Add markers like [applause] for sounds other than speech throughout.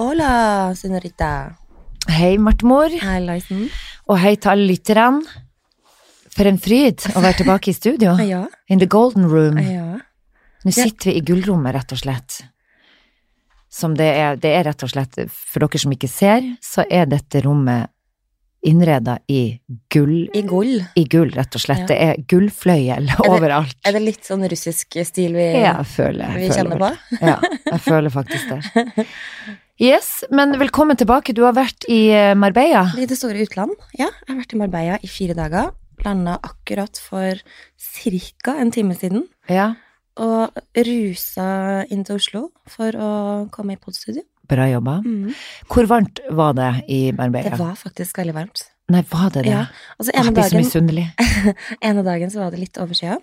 Hola, senorita. Hei, Martemor, Hei, Lyson. og hei til alle lytterne. For en fryd å være tilbake i studio. Ja. In the golden room. ja. Nå sitter vi i gullrommet, rett og slett. Som det er, det er rett og slett, for dere som ikke ser, så er dette rommet innreda i gull. I gull. I gull, rett og slett. Ja. Det er gullfløyel overalt. Er det litt sånn russisk stil vi, Ja, jeg føler, jeg vi føler kjenner på? [laughs] Ja, jeg føler faktisk det. Yes, men velkommen tilbake. Du har vært i eh, Marbella. I det store utland. Ja, jeg har vært i Marbella i fire dager. Landa akkurat for ca. en time siden. Ja. Og rusa inn til Oslo for å komme i podstudio. Bra jobba. Mm. Hvor varmt var det i Marbella? Det var faktisk veldig varmt. Nei, var det det? Ja. Altså, Åh, ene jeg blir dagen, så Eh, misunnelig. ene dagen så var det litt overskya.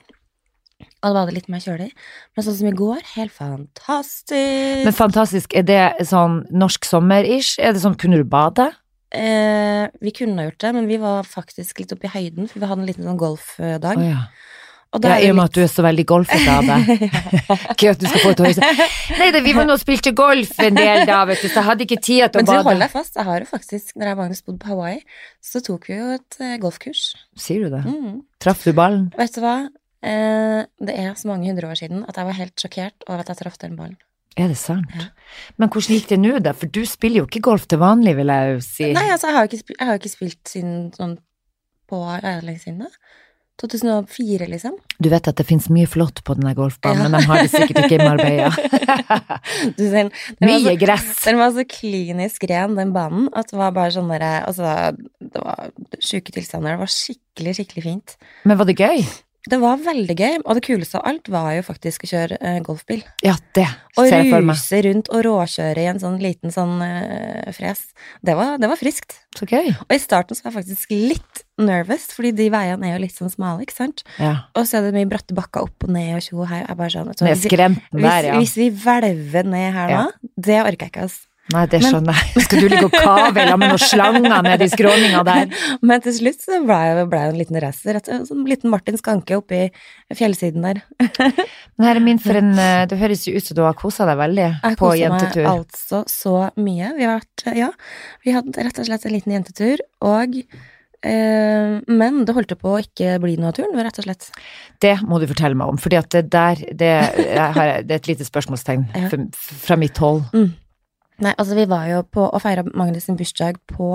Og da var det litt mer kjølig. Men sånn som i går, helt fantastisk. Men fantastisk, er det sånn norsk sommer-ish? Er det sånn, kunne du bade? Eh, vi kunne ha gjort det, men vi var faktisk litt oppe i høyden, for vi hadde en liten sånn Å golfdag. ja. Og ja. da I er og det med at du er så veldig golfete av [laughs] deg. Gøy at du skal få et høyeste. Nei, det, vi var nå og spilte golf en del da, vet du, så jeg hadde ikke tid Men til å du bade. hold deg fast. Jeg har jo faktisk, når jeg og Magnus bodde på Hawaii, så tok vi jo et eh, golfkurs. Sier du det? Mm. Traff du ballen? Vet du hva? Eh, det er så mange hundre år siden at jeg var helt sjokkert over at jeg traff den ballen. Er det sant? Ja. Men hvordan gikk det nå, da? For du spiller jo ikke golf til vanlig, vil jeg jo si. Nei, altså, jeg har jo ikke, sp- jeg har jo ikke spilt siden sånn på er det lenge siden, da? 2004, liksom. Du vet at det finnes mye flott på denne golfbanen, Ja. men de har det sikkert ikke i [laughs] Marbella. Du, den, den var så- mye gress. Den var så klinisk ren, den banen, at det var bare sånn der Altså, det var sjuke tilstander. Det var skikkelig, skikkelig fint. Men var det gøy? Det var veldig gøy, og det kuleste av alt var jo faktisk å kjøre eh, golfbil. Ja, det Og ser jeg for meg. ruse rundt og råkjøre i en sånn liten sånn eh, fres. Det var, det var friskt. Så gøy. Og i starten så var jeg faktisk litt nervous, fordi de veiene er jo litt sånn smale, ikke sant. Ja. Og så er det mye bratte bakker opp og ned og tjo og hei. Jeg er bare sånn vet du hva, Med hvis, skremten der, hvis, ja. hvis vi hvelver ned her nå, det orker jeg ikke, altså. Nei, det skjønner jeg. Skal du ligge og kave la med noen slanger ned i skråninga der? Men til slutt så ble jeg, ble jeg en liten racer. rett og slett, Som en liten Martin Skanke oppi fjellsiden der. Men herre min, for en eh, Det høres jo ut som du har kosa deg veldig Jeg på koset jentetur. meg altså så mye. Vi har vært, ja, vi hadde rett og slett en liten jentetur, og eh, Men det holdt jo på å ikke bli noe av turen, rett og slett. Det må du fortelle meg om, fordi at det der Det, jeg har, det er et lite spørsmålstegn Ja. fra- fra mitt hold. Nei, altså vi var jo på og feira Magnus sin bursdag på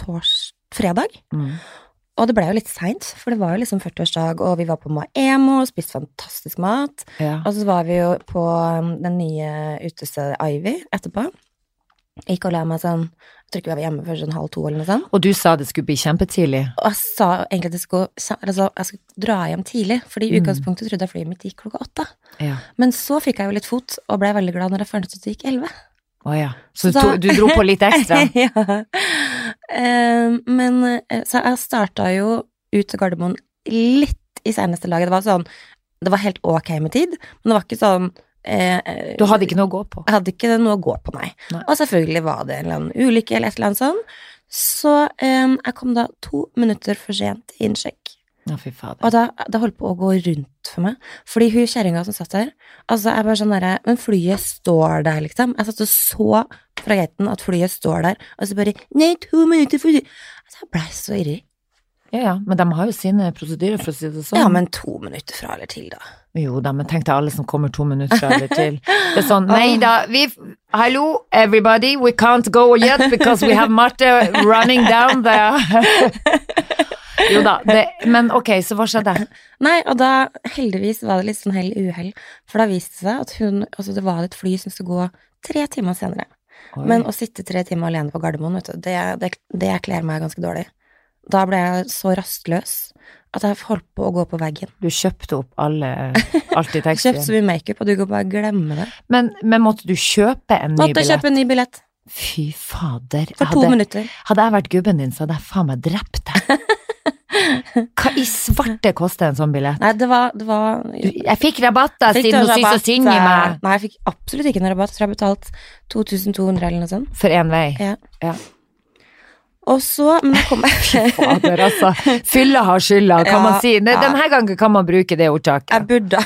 tors... fredag. Mm. Og det ble jo litt seint, for det var jo liksom 40-årsdag, og vi var på Maemo, spiste fantastisk mat. Ja. Og så var vi jo på um, den nye utestedet Ivy etterpå. Jeg gikk og la meg sånn Jeg tror ikke vi var hjemme før sånn halv to eller noe sånt. Og du sa det skulle bli kjempetidlig. Og jeg sa egentlig at jeg skulle, kje- altså, jeg skulle dra hjem tidlig, fordi i Mm. utgangspunktet trodde jeg flyet mitt gikk klokka åtte. Ja. Men så fikk jeg jo litt fot, og ble veldig glad når jeg fant ut at det gikk elleve. Å ja. Så Så da- du, du dro på litt ekstra? [laughs] [laughs] ja. Ehm, men eh, så jeg starta jo ut til Gardermoen litt i seneste laget. Det var sånn Det var helt ok med tid, men det var ikke sånn eh, Du hadde ikke noe å gå på? Jeg hadde ikke noe å gå på, nei. Nei. Og selvfølgelig var det en eller annen ulykke eller et eller annet sånn. Så em, jeg kom da to minutter for sent til innsjekk. Å, fy fader. Og da, det holdt på å gå rundt for meg. Fordi hun kjerringa som satt der Altså, jeg bare sånn derre Men flyet står der, liksom. Jeg satt og så fra gaten at flyet står der, og så bare Nei, to minutter for Altså, jeg blei så irri. Ja ja, men de har jo sine prosedyrer, for å si det sånn. Ja, men to minutter fra eller til, da. Jo da, men tenk deg alle som kommer to minutter fra eller til. Det er sånn, nei da, vi Hallo, everybody, we can't go yet because we have Marte running down there. Jo da, det, men ok, så hva skjedde? Nei, og da heldigvis var det litt sånn hell i uhell, for da viste det seg at hun Altså, det var et fly som skulle gå tre timer senere. Oi. Men å sitte tre timer alene på Gardermoen, vet du, det, det, det kler meg ganske dårlig. Da ble jeg så rastløs at jeg holdt på å gå på veggen. du kjøpte opp alle, alt i Kjøpt taxien. så mye makeup, og du kan bare glemme det. Men, men måtte du kjøpe en ny Måtte billett? kjøpe en ny billett Fy fader. for to hadde, minutter. hadde jeg vært gubben din, så hadde jeg faen meg drept deg. Hva i svarte koster en sånn billett? Nei, det var, det var Du, jeg fikk rabatter Fikk du siden hun syntes så rabatt? eh, synd i meg. Nei, jeg fikk absolutt ikke noe rabatt. Jeg tror jeg betalte 2200 eller noe sånt. For én vei. Ja. Ja. Og så Men jeg [laughs] kom [laughs] Jeg Fader, altså. Fylla har skylda, kan Ja, man si. Nei, ja. Denne gangen kan man bruke det ordtaket. burde [laughs]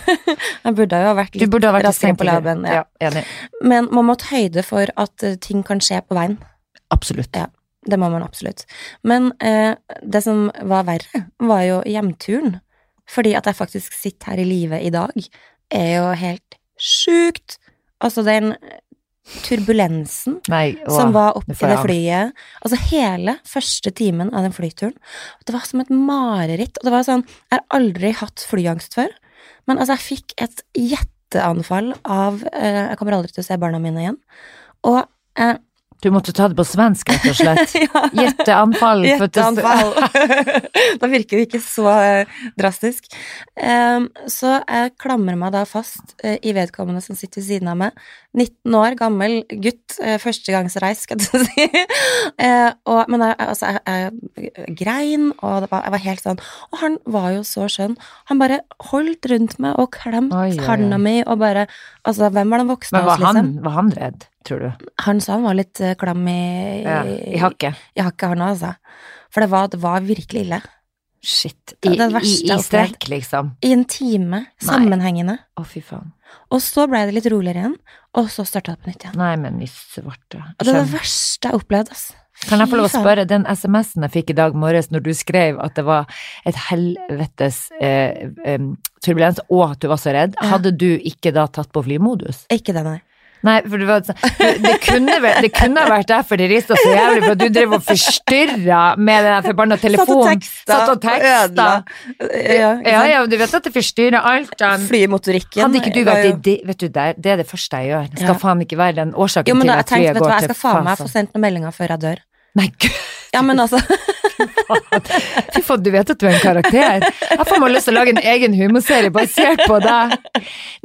Jeg burde jo ha vært Du litt burde ha vært raskere på streng det. labben. Ja. Ja, enig. Men man må ta høyde for at eh, ting kan skje på veien. Absolutt. Det må man absolutt. Men eh, det som var verre, var jo hjemturen. Fordi at jeg faktisk sitter her i live i dag, er jo helt sjukt. Altså den turbulensen Nei, å, som var oppi nå får det jeg flyet. Altså hele første timen av den flyturen. Det var som et mareritt. Og det var sånn, jeg har aldri hatt flyangst før. Men altså, jeg fikk et gjetteanfall av eh, Jeg kommer aldri til å se barna mine igjen. Og eh, [laughs] Du måtte ta det på svensk, rett og slett. ja. Gjetteanfall. Mm, for at det- Hjerteanfall. [laughs] [laughs] da virker det ikke så eh, drastisk. Ehm, så jeg klamrer meg da fast eh, i vedkommende som sitter ved siden av meg. 19 år gammel gutt. eh, Førstegangsreis, skal jeg [laughs] si. Eh, og, men jeg, altså, jeg, jeg grein, og det var, jeg var helt sånn Og han var jo så skjønn. Han bare holdt rundt meg og klemte Oi, oi, oi. handa mi og bare Altså, hvem var den voksne Men av var oss, liksom? han, var han redd, tror du? Han sa han var litt eh, klam i, Ja, I hakket? jeg har ikke her nå, altså. For det var, det var virkelig ille. Shit. I, Det er det verste i, jeg i har strekk, liksom. I en time, sammenhengende. Å, fy faen. Og så ble det litt roligere igjen, og så starta det på nytt igjen. Nei, men i svarte. Og det er det Skjønner. verste jeg har opplevd, ass. Kan jeg få lov å Fy faen. spørre, den SMS-en jeg fikk i dag morges når du skrev at det var et helvetes eh, em, turbulens, og at du var så redd, Ja. hadde du ikke da tatt på flymodus? Ikke det, nei. Nei, for det, var, sånn- du- det, kunne, vel- det kunne ha vært derfor det rista så jævlig, for at du drev og forstyrra med den der forbanna telefonen. Satt og teksta. Ja, Ja, ja, ja, du vet at det forstyrrer alt. den- Flymotorikken. Hadde ikke du var vært i jo- det, vet du, der, det er det første jeg gjør. Skal Ja. faen ikke være den årsaken Jo, men til da, at jeg tenkte, flyet vet du går hva, jeg til skal faen meg få faen. sendt noen meldinger før jeg [laughs] dør. Nei, gud. Ja, men altså, Fy faen, du vet at du er en karakter. Jeg får meg lyst til å lage en egen humorserie basert på deg.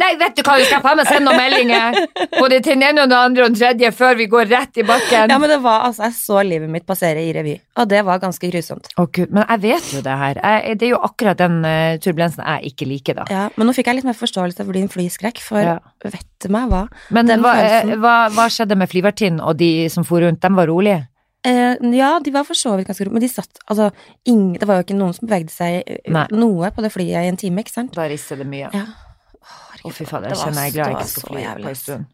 Nei, vet du hva, vi skal faen meg sende noen meldinger. Både til den ene og den andre og den tredje før vi går rett i bakken. ja, men det var, altså, jeg så livet mitt passere i revy, og det var ganske grusomt. Å gud, men jeg vet jo det her. Jeg, det er jo akkurat den eh, turbulensen jeg ikke liker, da. Ja, men nå fikk jeg litt mer forståelse for din flyskrekk, for Ja. vet du meg hva? Men Den hva, eh, følelsen. hva, hva skjedde med flyvertinnen og de som for rundt? De var rolige? Eh, ja, de var for så vidt ganske rolige, men de satt altså, ingen, Det var jo ikke noen som bevegde seg eh, Nei. noe på det flyet i en time, ikke sant? Da rister det mye. Ja. Å, fy fader, Det jeg var- kjenner jeg er glad det jeg var ikke skal så fly jævlig, på en ass. stund.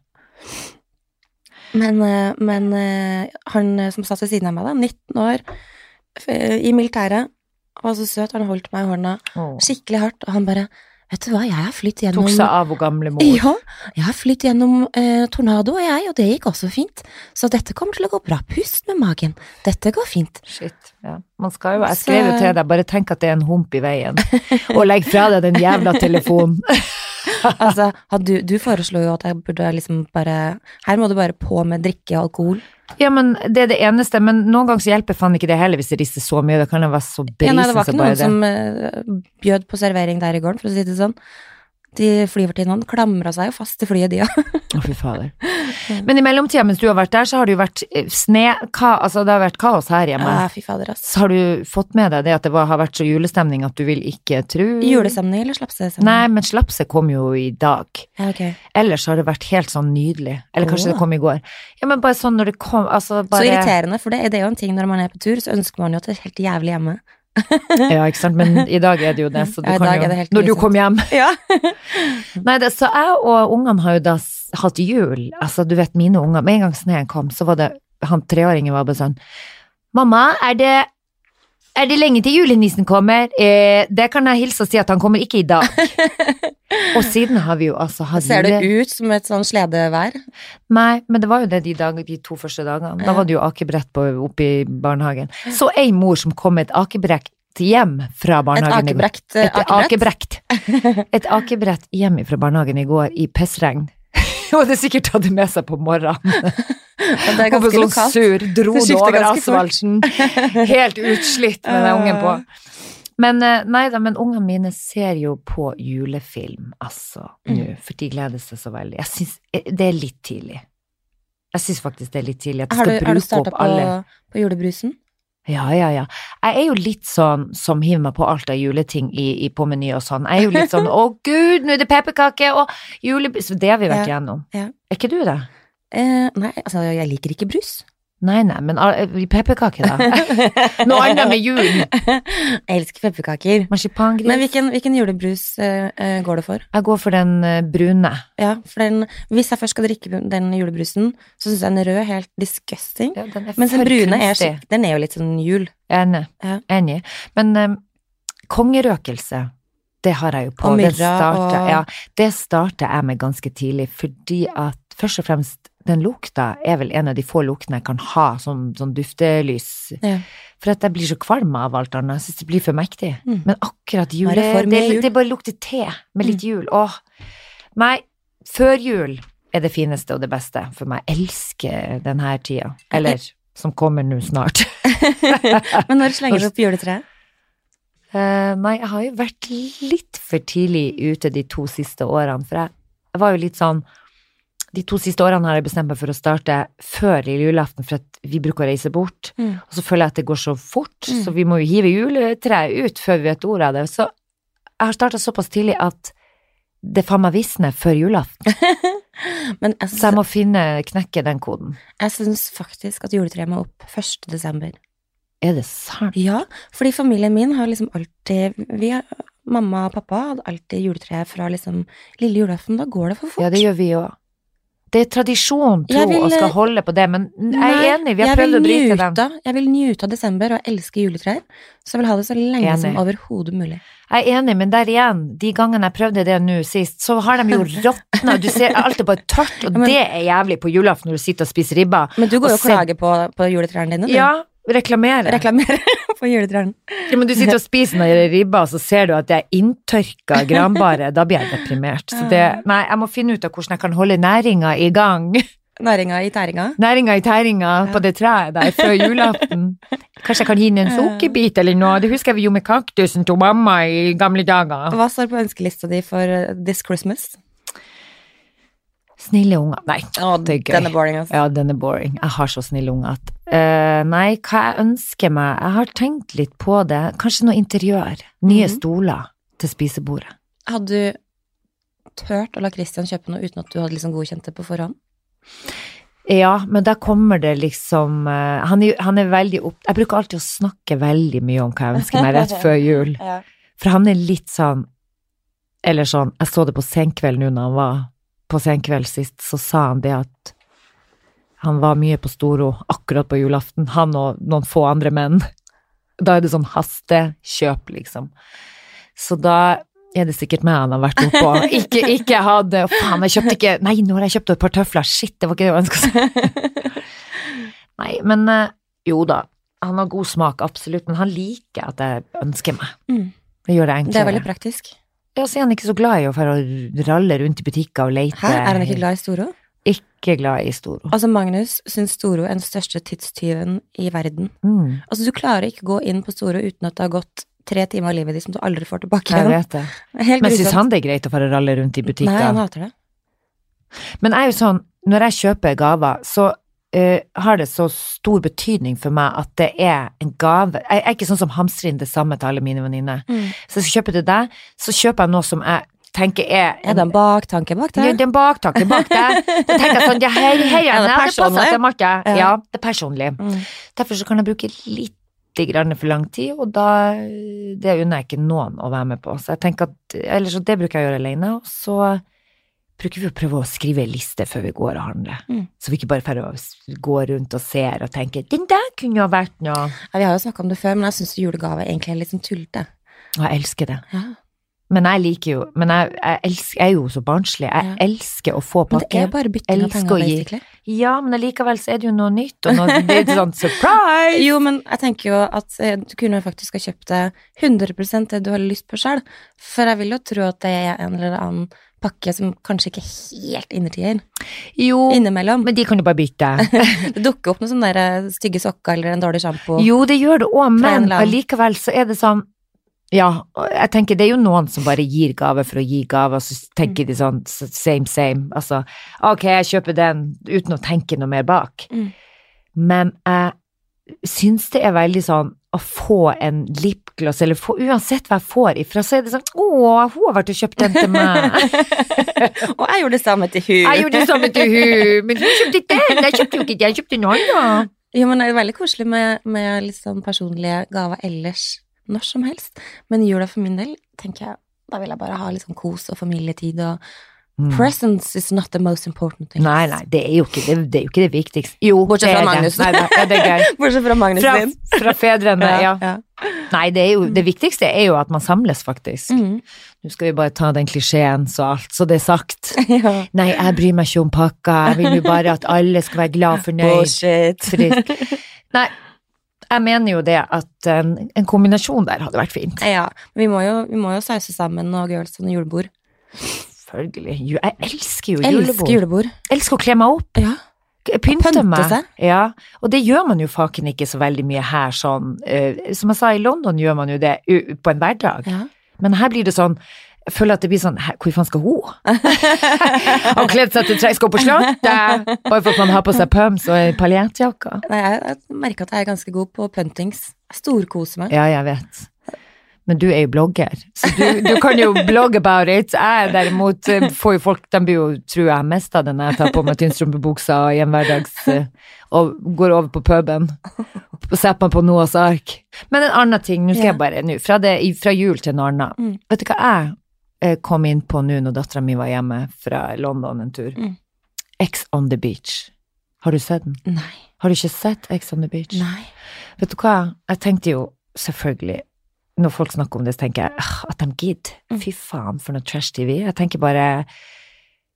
Men, eh, men eh, han eh, som satt ved siden av meg, da, 19 år, f- eh, i militæret, var så søt, han holdt meg i hånda Åh. skikkelig hardt, og han bare Vet du hva, jeg har flytt Tok seg gjennom av hun gamle mor. ja, jeg har flytt gjennom eh, tornado, og jeg, og det gikk også fint. Så dette kommer til å gå bra. Pust med magen. Dette går fint. Shit, ja. Man skal jo, jeg Så- skrev jo til deg, bare tenk at det er en hump i veien. [laughs] Og legg fra deg den jævla [laughs] telefonen. Altså, hadde du, du foreslo jo at jeg burde liksom bare Her må du bare på med drikke og alkohol. Ja, men det er det eneste, men noen ganger så hjelper faen ikke det heller hvis det rister så mye, det kan jo være så Ja, brisen nei, det var så ikke bare noen som eh, bjød på servering der i gården, for å si det sånn. De flyvertinnene klamra seg jo fast til flyet, de òg. Å, fy [laughs] fader. Men i mellomtida mens du har vært der, så har det jo vært eh, sne... Ka, altså, det har vært kaos her hjemme. Ja, Ah, fy fader, ass. Så har du fått med deg det at det var, har vært så julestemning at du vil ikke tro Julestemning eller slapsestemning? Nei, men slapset kom jo i dag. Ja, ok. Ellers har det vært helt sånn nydelig. Eller kanskje Åh. det kom i går. Ja, men bare sånn når det kom altså Så bare, irriterende, for det, det er jo en ting når man er på tur, så ønsker man jo at det er helt jævlig hjemme. [laughs] Ja, ikke sant. Men i dag er det jo det, så du Ja, i kan dag jo er det helt Når du grusomt. kom hjem. Ja. Nei, det, så jeg og ungene har jo da s- hatt jul. Altså, du vet mine unger. Med en gang sneen kom, så var det han treåringen var bare sånn Mamma, er det er det lenge til julenissen kommer? Eh, det kan jeg hilse og si at han kommer ikke i [laughs] dag. og siden har vi jo altså hatt Ser det jule... ut som et sånn sledevær? Nei, men det var jo det de, dag, de to første dagene. Da Ja. var det jo akebrett på, oppe i barnehagen. Så ei mor som kom med et akebrett hjem fra Et barnehagen. i går. akebrekt eh, Et akebrett? akebrett. [laughs] Et akebrett hjemme fra barnehagen i går i pissregn. [laughs] Hun hadde sikkert tatt det med seg på morgenen. Men Det er Hun var ganske sånn lokalt. sur, dro Det den skifter over ganske fort. asfalten. [laughs] Helt utslitt med den ungen Eh. på. Men eh, nei da, men ungene mine ser jo på julefilm, altså, Mm. nå, for de gleder seg så veldig. Jeg syns eh, det er litt tidlig. Jeg syns faktisk det er litt tidlig at de Har du, skal har du bruke starta opp på, alle på julebrusen? ja, ja, ja. Jeg er jo litt sånn som hiver meg på alt av juleting i, i på meny og sånn. Jeg er jo litt [laughs] sånn 'Å, gud, nå er det pepperkaker og julebrus'. Det har vi vært Ja, igjennom. ja. Er ikke du det? [laughs] Eh, nei, altså jeg liker ikke brus. Nei, nei, men ah, pepperkaker, [laughs] da. Noe annet med jul. Jeg elsker pepperkaker. Marsipangris. Men hvilken, hvilken julebrus eh, eh, går det for? Jeg går for den eh, brune. Ja, for den, Hvis jeg først skal drikke den julebrusen, så syns jeg den røde er helt disgusting. Ja, den er Mens den for brune er, kunstig. skikk- den er jo litt sånn jul. [laughs] Enig. Ja. Enig. Men eh, kongerøkelse, det har jeg jo på. Og det, myrra starta, og- ja, det starta jeg med ganske tidlig, fordi at først og fremst den lukta er vel en av de få luktene jeg kan ha som sånn duftelys. Ja. For at jeg blir så kvalm av alt annet. Jeg syns det blir for mektig. Mm. Men akkurat Nå jule er det for det, mye jul. Mm. det bare lukter te med litt jul. Åh. Nei, før jul er det fineste og det beste for meg. Jeg elsker denne tida. Eller som kommer nå snart. Men når slenger du opp juletreet? Eh, nei, jeg har jo vært litt for tidlig ute de to siste årene, for jeg, jeg var jo litt sånn De to siste årene har jeg bestemt meg for å starte før lille julaften, for at vi bruker å reise bort. Mm. Og så føler jeg at det går så fort, Mm. så vi må jo hive juletreet ut før vi vet ordet av det. Så jeg har starta såpass tidlig at det faen meg visner før julaften. Men jeg, Så jeg syns- må finne, knekke den koden. jeg syns faktisk at juletreet må opp 1. desember. Er det sant? Ja, fordi familien min har liksom alltid vi har, Mamma og pappa hadde alltid juletre fra liksom lille julaften. Da går det for fort. Ja, det gjør vi jo. Det er tradisjon, tro, Jeg vil, og skal eh, holde på det, men jeg Nei, er enig, vi har jeg prøvd vil å bryte den. njute- Jeg vil njute av desember, og jeg elsker juletrær. Så jeg vil ha det så lenge Enig. som overhodet mulig. Jeg er enig, men der igjen, de gangene jeg prøvde det nå sist, så har [laughs] de jo råtna, du ser alt er bare tørt, og Ja, men- det er jævlig på julaften når du sitter og spiser ribba. Men du går jo Og og se- klager på, på juletrærne dine. du. Ja, reklamere. Reklamerer [laughs] på juletrærne. Ja, men du sitter og spiser den ribba, og så ser du at det er inntørka granbare, da blir jeg deprimert. Så det, nei, jeg må finne ut av hvordan jeg kan holde næringa i gang, Næringa i tæringa. næringa i tæringa på det treet der før julaften. Kanskje jeg kan gi den en sukkerbit eller noe, det husker jeg vi gjorde med kaktusen til mamma i gamle dager. Hva står på ønskelista di for eh, this Christmas? Snille unger. Nei, det er gøy. Den er boring, altså. Ja, den er boring. Jeg har så snille unger at eh, Nei, hva jeg ønsker meg? Jeg har tenkt litt på det. Kanskje noe interiør. Nye Mhm. stoler til spisebordet. Hadde du tørt å la Christian kjøpe noe uten at du hadde liksom godkjent det på forhånd? Ja, men da kommer det liksom eh, han, er, jo- han er veldig opp... Jeg bruker alltid å snakke veldig mye om hva jeg ønsker meg rett før jul. Ja. For han er litt sånn Eller sånn Jeg så det på Senkveld nå når han var på Senkveld sist, så sa han det at han var mye på Storo akkurat på julaften, han og noen få andre menn. Da er det sånn hastekjøp, liksom. Så da er det sikkert meg han har vært oppå. Ikke, ikke hadde Å, faen, jeg kjøpte ikke Nei, nå har jeg kjøpt et par tøfler. Shit, det var ikke det jeg ønska meg. [laughs] Nei, men eh, jo da. Han har god smak, absolutt, men han liker at jeg ønsker meg. Mm. Det gjør det Det er enklere. veldig praktisk. Ja, så er han ikke så glad i å fære og ralle rundt i butikker og lete. Her er han ikke glad i Storo. Ikke glad i Storo. Altså, Magnus syns Storo er den største tidstyven i verden. Mm, Altså, du klarer ikke å gå inn på Storo uten at det har gått tre timer av livet ditt som du aldri får tilbake jeg igjen. vet det. Helt Men syns grusomt. han det er greit å fære og ralle rundt Nei, i han butikker? hater det. Men jeg er jo sånn, når jeg kjøper gaver, så eh, har det så stor betydning for meg at det er en gave. Jeg er ikke sånn som hamstrer inn det samme til alle mine venninner. Så hvis jeg kjøper til deg, så kjøper jeg noe som jeg tenker er Er det en baktanke bak det? Ja, det er en baktanke bak deg. Da tenker jeg sånn, ja, hei, hei, Ja, det er Anne, det passer personlig. til Marte. Ja. Ja, det er personlig. [laughs] Mm. Derfor så kan jeg bruke litt grann for lang tid, og da det unner jeg ikke noen å være med på. Så jeg tenker at, eller så det bruker jeg å gjøre alene, og så bruker vi å prøve å skrive en liste før vi går og handler. Mm. Så vi ikke bare får å s- gå rundt og ser og tenke, den der kunne jo ha vært noe. Ja, vi har jo snakka om det før, men jeg syns julegave egentlig er litt sånn tullete. Og jeg elsker det. Ja. Men jeg liker jo, men jeg, jeg, elsker, jeg er jo så barnslig. Jeg Ja. elsker å få Men det pakke. er jo bare bytting av Elsker penger, å gi. basically. Ja, men allikevel så er det jo noe nytt, og noe, det er et sånt surprise! [laughs] Jo, men jeg tenker jo at eh, du kunne faktisk ha kjøpt deg 100 det du har lyst på sjøl. For jeg vil jo tro at det er en eller annen pakke som kanskje ikke helt innertier. Jo, Innimellom. men de kan jo bare bytte. Det dukker opp noen sånne der, eh, stygge sokker eller en dårlig sjampo. Jo, det gjør det òg, Fra en men eller annen. allikevel så er det sånn Ja, og jeg tenker det er jo noen som bare gir gave for å gi gave, og så tenker de sånn s- same, same. Altså, ok, jeg kjøper den uten å tenke noe mer bak. Mm. Men jeg syns det er veldig sånn å få en lipgloss, eller få, uansett hva jeg får ifra, så er det sånn Å, hun har vært og kjøpt den til meg. [laughs] Og jeg gjorde det samme til hun. Jeg gjorde det samme til hun, men hun kjøpte ikke den. Jeg kjøpte jo ikke den, jeg kjøpte noen, da. Jo, men det er veldig koselig med, med litt sånn personlige gaver ellers når som helst. Men i jula for min del, tenker jeg, da vil jeg bare ha litt sånn kos og familietid og Mm. Presence is not the most important thing. Mm. Nei, nei, det er jo ikke det, det, er jo ikke det viktigste. Jo, Bortsett det fra er Magnus. Det. Nei, da, ja, det er gøy. [laughs] Bortsett fra Magnus Fra, din. fra fedrene, ja. [laughs] ja. Nei, det, er jo, det viktigste er jo at man samles, faktisk. Mm. [laughs] Nå skal vi bare ta den klisjeen så alt, så det er sagt. ja. Nei, jeg bryr meg ikke om pakka, jeg vil jo bare at alle skal være glad og fornøyd. [laughs] Bullshit. Frisk. Nei, jeg mener jo det at en, en kombinasjon der hadde vært fint. Ja, men vi må jo, vi må jo sause sammen og gjøre sånn julebord. Selvfølgelig. Ju- Jeg elsker jo Elsker julebord. julebord. Elsker å kle meg opp. Ja. K- Pynte, Pynte meg. seg. Ja, og det gjør man jo faken ikke så veldig mye her sånn. eh, som jeg sa, i London gjør man jo det u- på en hverdag. ja. Men her blir det sånn, jeg føler at det blir sånn, hæ, hvor faen [laughs] skal hun? Har kledd seg til tresko på slottet, bare for at man har på seg pumps og en paljettjakke. Nei, jeg, jeg merker at jeg er ganske god på puntings. Jeg storkoser meg. Ja, jeg vet. Men du er jo blogger, så du, du kan jo blogge about it. Jeg derimot eh, får jo folk, de blir jo, tror jeg, mest av det når jeg tar på meg tynnstrømpebuksa i en hverdags eh, og går over på puben og setter meg på Noas ark. Men en annen ting, nå Ja. skal jeg bare, nå, fra, det, i- fra jul til noe annet. Mm. Vet du hva jeg eh, kom inn på nå når dattera mi var hjemme fra London en tur? Mm. X on the beach. Har du sett den? Nei. Har du ikke sett X on the beach? Nei. Vet du hva, jeg tenkte jo selvfølgelig Når folk snakker om det, så tenker jeg «Ah, at de gidder. Mm. Fy faen, for noe trash-TV. Jeg tenker bare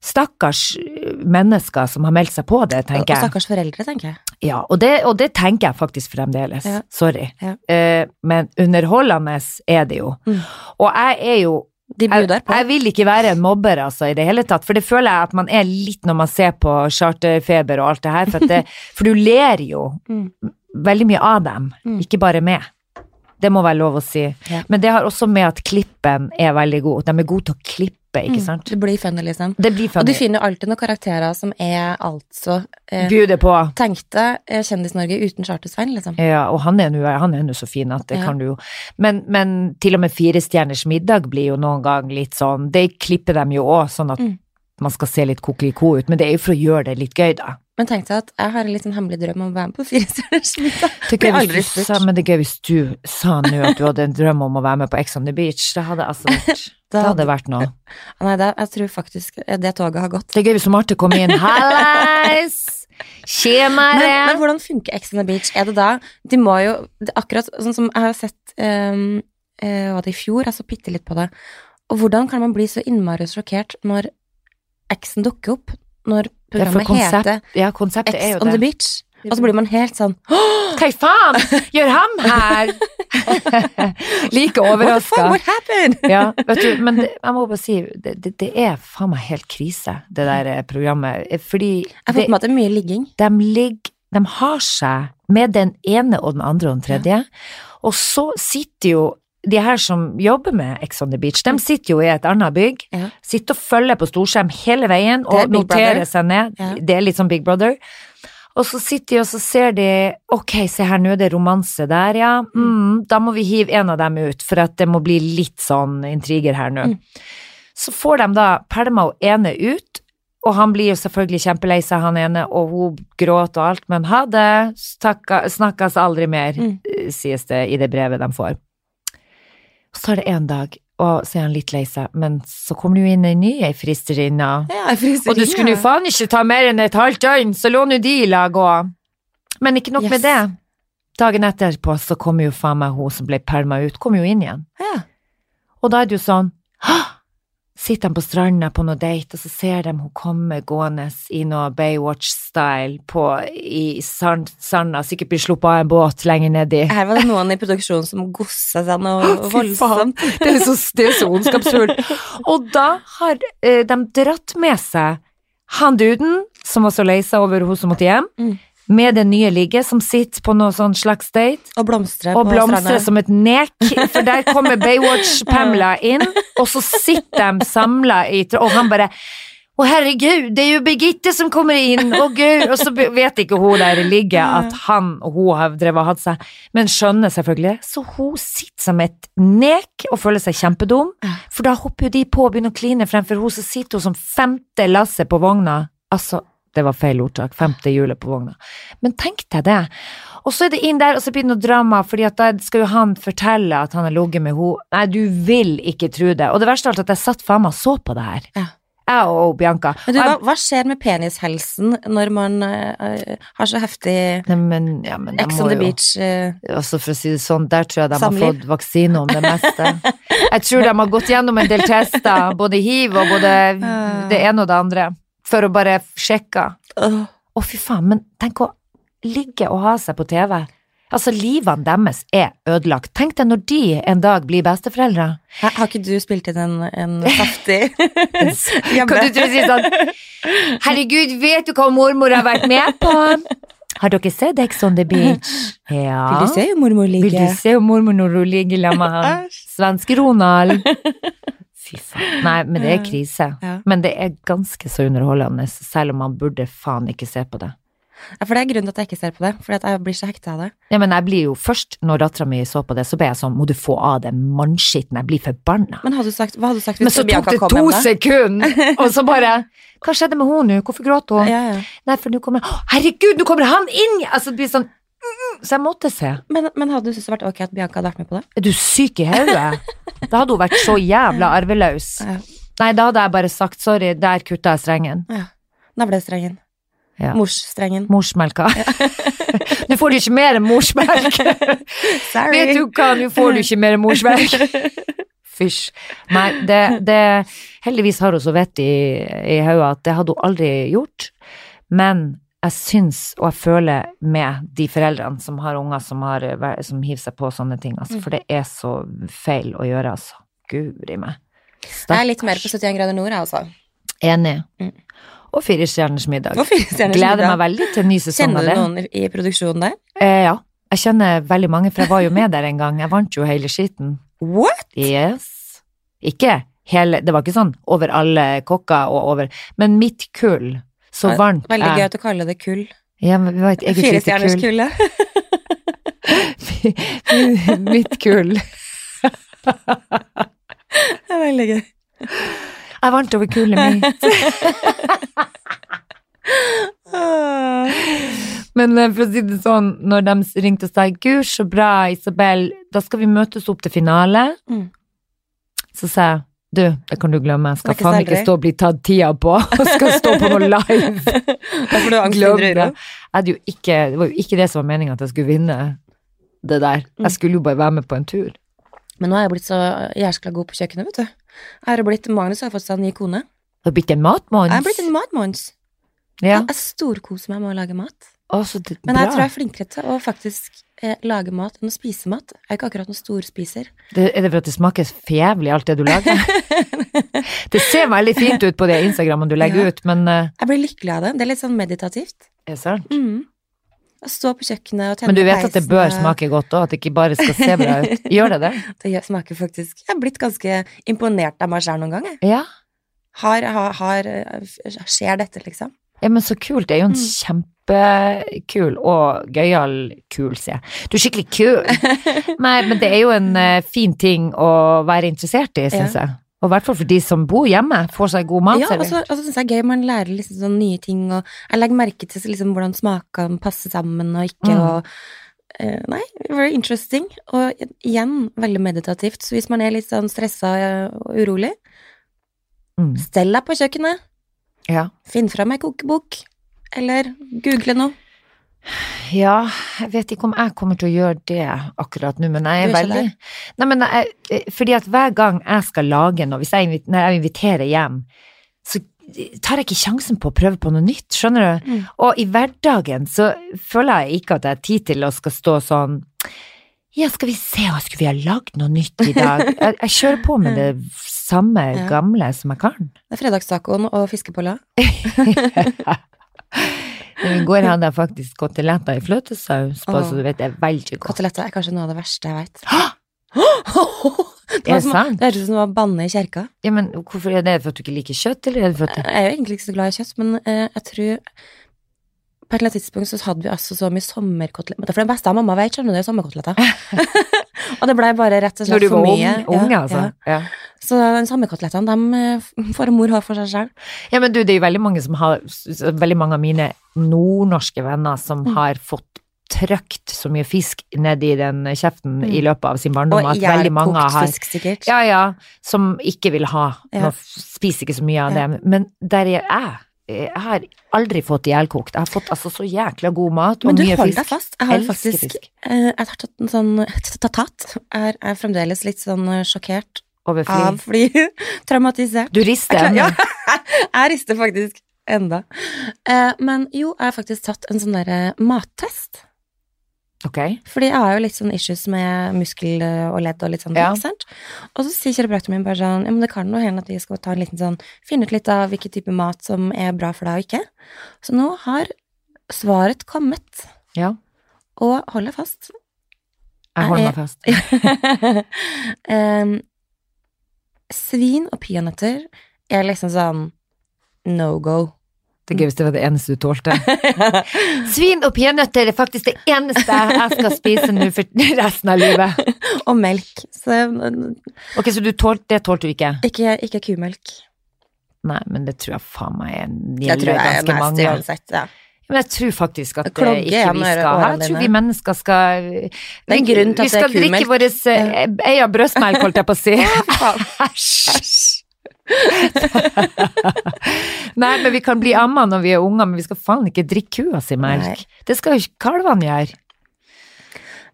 Stakkars øh, mennesker som har meldt seg på det, Og tenker jeg. stakkars foreldre, tenker jeg. Ja, og det, og det tenker jeg faktisk fremdeles. Ja. Sorry. Ja. Eh, men underholdende er det jo. Mm. Og jeg er jo De jeg, bjuder på. jeg vil ikke være en mobber altså, i det hele tatt, for det føler jeg at man er litt når man ser på charterfeber og alt det her, [laughs] for, at det, for du ler jo Mm. veldig mye av dem, Mm. ikke bare med. Det må være lov å si. Ja. Men det har også med at klippen er veldig god. De er gode til å klippe, ikke Mm. sant? Det blir funny, liksom. Det blir Og du funny. finner alltid noen karakterer som er altså eh, Bjuder på. Tenkte eh, Kjendis-Norge uten Charter-Svein, liksom. Ja, og han er nå- han er nå så fin at det Ja. kan du jo men, men til og med Fire stjerners middag blir jo noen gang litt sånn Det klipper dem jo òg, sånn at Mm. man skal se litt kokeliko ut. Men det er jo for å gjøre det litt gøy, da. Men tenkte jeg at jeg har en litt sånn hemmelig drøm om å være med på Fire stjerners [laughs] middag. Det er, Blir gøy aldri hvis du spurt. sa, men det er gøy hvis du sa nå at du hadde en drøm om å være med på Ex on the Beach. Det hadde altså [laughs] vært, det hadde vært noe. Nei, det, jeg tror faktisk eh, det toget har gått. Det er gøy hvis Marte kom inn. Hallais! Men, men Tjenere! hvordan funker Ex on the Beach? Er det da De må jo det, er Akkurat sånn som jeg har sett ehm, eh, Var det i fjor? Jeg så bitte litt på det. Og hvordan kan man bli så innmari sjokkert når X-en dukker opp? Når Det er for programmet konsept- heter Ja, konseptet er X jo on the det. Beach? Og så blir man helt sånn Hva i faen gjør ham [laughs] her? [laughs] like What the fuck, overraska. what happened? [laughs] Ja, vet du, men det, jeg må bare si, det, det, det er faen meg helt krise, det der eh, programmet. Fordi Jeg har det, fått med at det er mye ligging. de ligger De har seg med den ene og den andre og den tredje. Og så sitter jo de her som jobber med Ex on the Beach, de sitter jo i et annet bygg. Ja. Sitter og følger på storskjerm hele veien Det er og Big noterer Brother. seg ned. Ja. Det er litt sånn Big Brother. Og så sitter de og så ser de Ok, se her, nå er det romanse der, ja. Mm, da må vi hive en av dem ut, for at det må bli litt sånn intriger her nå. Mm. Så får de da pælma og ene ut, og han blir jo selvfølgelig kjempelei seg, han ene, og hun gråter og alt, men ha det, snakka- snakkes aldri mer, Mm. eh, sies det i det brevet de får. Så er det en dag, og så er han litt lei seg, men så kommer det jo inn ei ny ei fristerinne. Ja, fryseri, Og du skulle jo ja. faen ikke ta mer enn et halvt døgn, så lå nå de i lag òg. Men ikke nok Yes. med det. Dagen etterpå så kommer jo faen meg hun som ble pælma ut, kommer jo inn igjen. Ja. Og da er det jo sånn «Hå!» Sitter han på stranda på noe date, og så ser de hun komme gående i noe Baywatch-style på, i sand, sanda, sikkert blir sluppet av en båt lenger nedi. Her var det noen i produksjonen som gossa seg noe Fy faen, voldsomt. Det er så, det er så ondskapsfullt. Og da har eh, de dratt med seg han duden som var så lei seg over hun som måtte hjem, Mm. med det nye ligget, som sitter på noe sånn slags date, Og blomstre og på blomstrer stranda. som et nek, for der kommer [laughs] Baywatch-Pamela inn, og så sitter de samla i tr- Og han bare å, herregud, det er jo Birgitte som kommer inn! Å, gud! Og så be- vet ikke hun der det ligger at han og hun har drevet og hatt seg, men skjønner selvfølgelig. Så hun sitter som et nek og føler seg kjempedum, Ja. for da hopper jo de på og begynner å kline fremfor hun, så sitter hun som femte lasset på vogna. Altså, Det var feil ordtak. Femte hjulet på vogna. Men tenk deg det. Og så er det inn der, og så blir det noe drama, fordi at da skal jo han fortelle at han har ligget med henne. Nei, du vil ikke tro det. Og det verste av alt er at jeg satt faen meg og så på det her. Ja. Jeg og Bianca. Men du, Og jeg hva, hva skjer med penishelsen når man eh, har så heftig Nei, men, ja, men jeg Ex må on the jo- beach eh, Altså for å si det sånn, der tror jeg de har Samliv. fått vaksine [laughs] om det meste. Jeg tror de har gått gjennom en del tester, både hiv og både Ah. det ene og det andre, for å bare sjekke. åh. Å, fy faen, men tenk å ligge og ha seg på TV. Altså, livene deres er ødelagt. Tenk deg når de en dag blir besteforeldre. Hæ, Har ikke du spilt inn en, [laughs] en saftig Kan du tro å si sånn Herregud, vet du hva mormor har vært med på? Har dere sett Ex on the Beach? Ja. Vil du se jo mormor Vil ligge? du se jo mormor når hun ligger i lag med han? Svenske Ronald. Fy faen. Nei, men det er krise. Ja. Men det er ganske så underholdende, selv om man burde faen ikke se på det. Ja, for det er grunnen til at jeg ikke ser på det. Fordi at jeg blir så hekta av det. Ja, men jeg blir jo først, når dattera mi så på det, så ble jeg sånn, må du få av den mannskitten, jeg blir forbanna. Men hadde du sagt, hva hadde du sagt Men hvis så tok Bianca det kom to hjem, da? sekunder, og så bare Hva skjedde med henne nå? Hvorfor gråt hun? Ja, ja. Nei, for nå kommer «Å, Herregud, nå kommer han inn! Altså, det blir sånn mm, Så jeg måtte se. Men, men hadde du syntes det vært ok at Bianca hadde vært med på det? Er du syk i hodet? Da hadde hun vært så jævla arveløs. Ja. Nei, da hadde jeg bare sagt sorry, der kutta jeg strengen. Ja. Navlestrengen. Ja. Morsstrengen. [laughs] Morsmelka. Nå får du ikke mer enn [laughs] morsmelk. Sorry. Vet du hva, nå får du ikke mer enn morsmelk. [laughs] Fysj. Nei, det, det Heldigvis har hun så vett i, i hodet at det hadde hun aldri gjort. Men jeg syns, og jeg føler med de foreldrene som har unger som, har, væ- som hiver seg på sånne ting, altså. For det Mm. er så feil å gjøre, altså. Guri meg. Jeg er litt mer Stakkars. på 71 grader nord, jeg, altså. Enig. Mm. Og fire stjerners middag. Og fire stjerners Gleder middag. meg veldig til en ny sesong Kjenner av du det. noen i i produksjonen der? Eh, ja. Jeg kjenner veldig mange, for jeg var jo med der en gang. Jeg vant jo hele skiten. What? Yes. Ikke hele Det var ikke sånn over alle kokker og over Men mitt kull, så Ja, vant Veldig jeg. gøy at du kaller det kull. Ja, men vi var et eget lite Firestjerners kull. kull, ja. [laughs] mitt kull. Det er [laughs] Veldig gøy. Jeg vant over kullet mitt. Ah. Men eh, for å si det sånn, når de ringte og sa 'Gud, så bra, Isabel, da skal vi møtes opp til finale', Mm. så sa jeg 'Du, det kan du glemme, jeg skal Snakkes faen ikke aldri.» stå og bli tatt tida på, [laughs] og skal stå på noe live'. [laughs] Da får du angst Glem under det. øret. Jeg hadde jo ikke, det var jo ikke det som var meningen at jeg skulle vinne det der. Mm. Jeg skulle jo bare være med på en tur. Men nå er jeg blitt så jæskla god på kjøkkenet, vet du. Jeg har blitt Magnus har fått seg en ny kone. Du har blitt en matmann. Jeg er blitt en matmanns. Ja. Jeg storkoser meg med å lage mat. Å, så det, Men jeg tror bra. jeg er flinkere til å faktisk eh, lage mat enn å spise mat. Jeg er ikke akkurat noen storspiser. Det, er det for at det smaker for jævlig alt det du [laughs] lager? det ser veldig fint ut på de Instagrammene du legger Ja. ut, men eh, Jeg blir lykkelig av det. Det er litt sånn meditativt. er det sant? Mm. Å stå på kjøkkenet og tenne Men du vet at det peisen bør og- smake godt òg, at det ikke bare skal se [laughs] bra ut. Gjør det det? Det gjør- smaker faktisk Jeg er blitt ganske imponert av meg sjøl noen ganger. Ja. Har, har, har eh, Skjer dette, liksom? Ja, men så kult. Det er jo en kjempekul og gøyal kul, sier jeg. Du er skikkelig kul! Nei, men det er jo en eh, fin ting å være interessert i, syns jeg. Og i hvert fall for de som bor hjemme, får seg god mat. Ja, altså, og så og så syns jeg det er gøy. Man lærer liksom sånn nye ting, og jeg legger merke til liksom hvordan smakene passer sammen og ikke, Mm. og eh, Nei, very interesting. Og igjen, veldig meditativt. Så hvis man er litt sånn stressa og urolig, Mm. stell deg på kjøkkenet. Ja. Finn fram ei kokebok. Eller google noe. ja, jeg vet ikke om jeg kommer til å gjøre det akkurat nå, men jeg er Du er ikke veldig Nei, men jeg, eh, fordi at hver gang jeg skal lage noe, hvis jeg, invit- når jeg inviterer hjem, så tar jeg ikke sjansen på å prøve på noe nytt, skjønner du? Mm. Og i hverdagen så føler jeg ikke at jeg har tid til å skal stå sånn Ja, skal vi se, å, skulle vi ha lagd noe nytt i dag? [laughs] Jeg, jeg kjører på med det samme Ja. gamle som jeg kan. Det er fredagstacoen og fiskebolla. I går hadde jeg faktisk koteletter i fløtesaus på, så du vet, det er veldig godt. Koteletter er kanskje noe av det verste jeg veit. Er det sant? [gasps] Det høres ut som å banne i kjerka. Ja, men hvorfor er det? For at du ikke liker kjøtt, eller er det for at Jeg er jo egentlig ikke så glad i kjøtt, men eh, jeg tror på et eller annet tidspunkt så hadde vi altså så mye sommerkoteletter. For det beste av mamma vet, skjønner du, det er sommerkoteletter. [laughs] og det blei bare rett og Når slett du for var ung, mye. ung Ja, altså. ja. Ja. Så den sommerkoteletten, dem eh, får mor ha for seg sjøl. Ja, men du, det er jo veldig mange som har s- s- Veldig mange av mine nordnorske venner som Mm. har fått trøkt så mye fisk ned i den kjeften i løpet av sin barndom Mm. Og at veldig mange gjærkokt har fisk, sikkert. Ja, ja, som ikke vil ha. Ja. Nå f- spiser ikke så mye av Ja. det. Men der er jeg. Jeg har aldri fått ihjelkokt. Jeg har fått altså så jækla god mat og Men du, mye hold fisk. deg fast. Jeg har Elsker faktisk fisk. eh, Jeg har tatt en sånn tatat. Jeg er fremdeles litt sånn eh, sjokkert Over fly. av fly. [laughs] Traumatisert. Du rister Ja, ennå. jeg rister faktisk enda. Eh, men jo, jeg har faktisk tatt en sånn derre mattest. Ok. Fordi jeg har jo litt sånn issues med muskel og ledd og litt sånn, Ja. ikke sant? Og så sier kiropraktoren min bare sånn, ja, men det kan jo hende at vi skal ta en liten sånn, finne ut litt av hvilken type mat som er bra for deg og ikke. Så nå har svaret kommet, Ja. og hold deg fast. [laughs] Jeg holder meg fast. Em, svin og peanøtter er liksom sånn no go. [laughs] Det er gøy hvis det var det eneste du tålte. [laughs] Svin og peanøtter er faktisk det eneste jeg skal spise nå for resten av livet. og melk. Så n- Ok, så du tålte, det tålte du ikke? ikke, ikke kumelk. Nei, men det tror jeg faen meg er- Jeg gjelder tror jeg er ganske nasty mange. uansett. [laughs] Ja. Men jeg tror faktisk at Klogge eh, ikke igjen vi øre- skal ørene Jeg tror dine. vi mennesker skal er en grunn til at det er Vi skal drikke kumelk. vår eh, ei av brøstmelk, holdt jeg på [laughs] å si. Faen. Æsj. Nei, men vi kan bli amma når vi er unger, men vi skal faen ikke drikke kua si melk. Det skal jo ikke kalvene gjøre.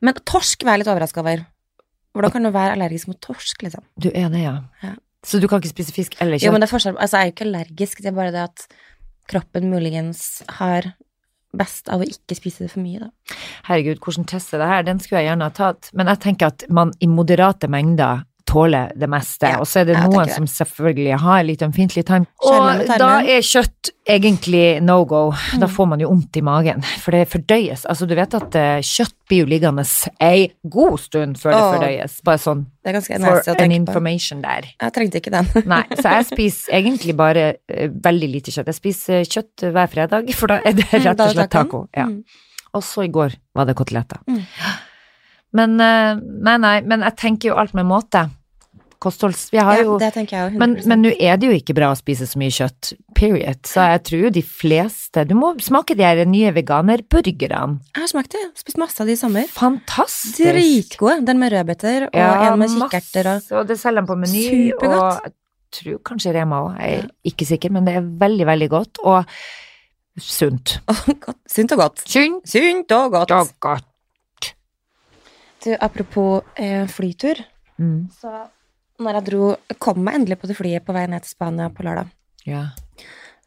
Men torsk var jeg litt overraska over. Hvordan kan du være allergisk mot torsk, liksom? Du er det, ja. Ja. Så du kan ikke spise fisk eller Jo, kjøtt? men det er forskjell. Altså, jeg er jo ikke allergisk, det er bare det at kroppen muligens har best av å ikke spise det for mye, da. Herregud, hvordan teste det her? Den skulle jeg gjerne ha tatt. Men jeg tenker at man i moderate mengder tåler det meste. Ja, og så er det jeg noen tenker det. som selvfølgelig har litt ømfintlig tarm. Skjermen Og med tarmen. Mm. da er kjøtt egentlig no go. Da får man jo vondt i magen, for det fordøyes. Altså, du vet at eh, kjøtt blir jo liggende ei god stund før det Åh. fordøyes. Bare sånn Det er ganske for nasty å an tenke på. information [laughs] der. Jeg trengte ikke den. Nei, så jeg spiser egentlig bare eh, veldig lite kjøtt. Jeg spiser kjøtt hver fredag, for da er det Mm, da rett er og det slett tacoen. [laughs] taco. Ja. Mm. Og så i går var det koteletter. Mm. Men eh, nei, nei, men jeg tenker jo alt med måte. Kostholds... Vi har Ja, jo det tenker jeg jo 100 Men men nå er det jo ikke bra å spise så mye kjøtt, period. Så jeg tror jo de fleste Du må smake de her nye veganerburgerne. Jeg har smakt det. Spist masse av de i sommer. Fantastisk! Dritgode. Den med rødbeter og en med kikkerter og [laughs] masse, og det selger de på Meny. Supergodt. Og jeg tror kanskje Rema òg, jeg er ikke sikker, men det er veldig, veldig godt og sunt. Åh, godt. Sunt og godt. Sunt Sunt og og godt. Du, apropos eh, flytur, Mm. så når jeg dro Kom meg endelig på det flyet på vei ned til Spania på lørdag. Ja.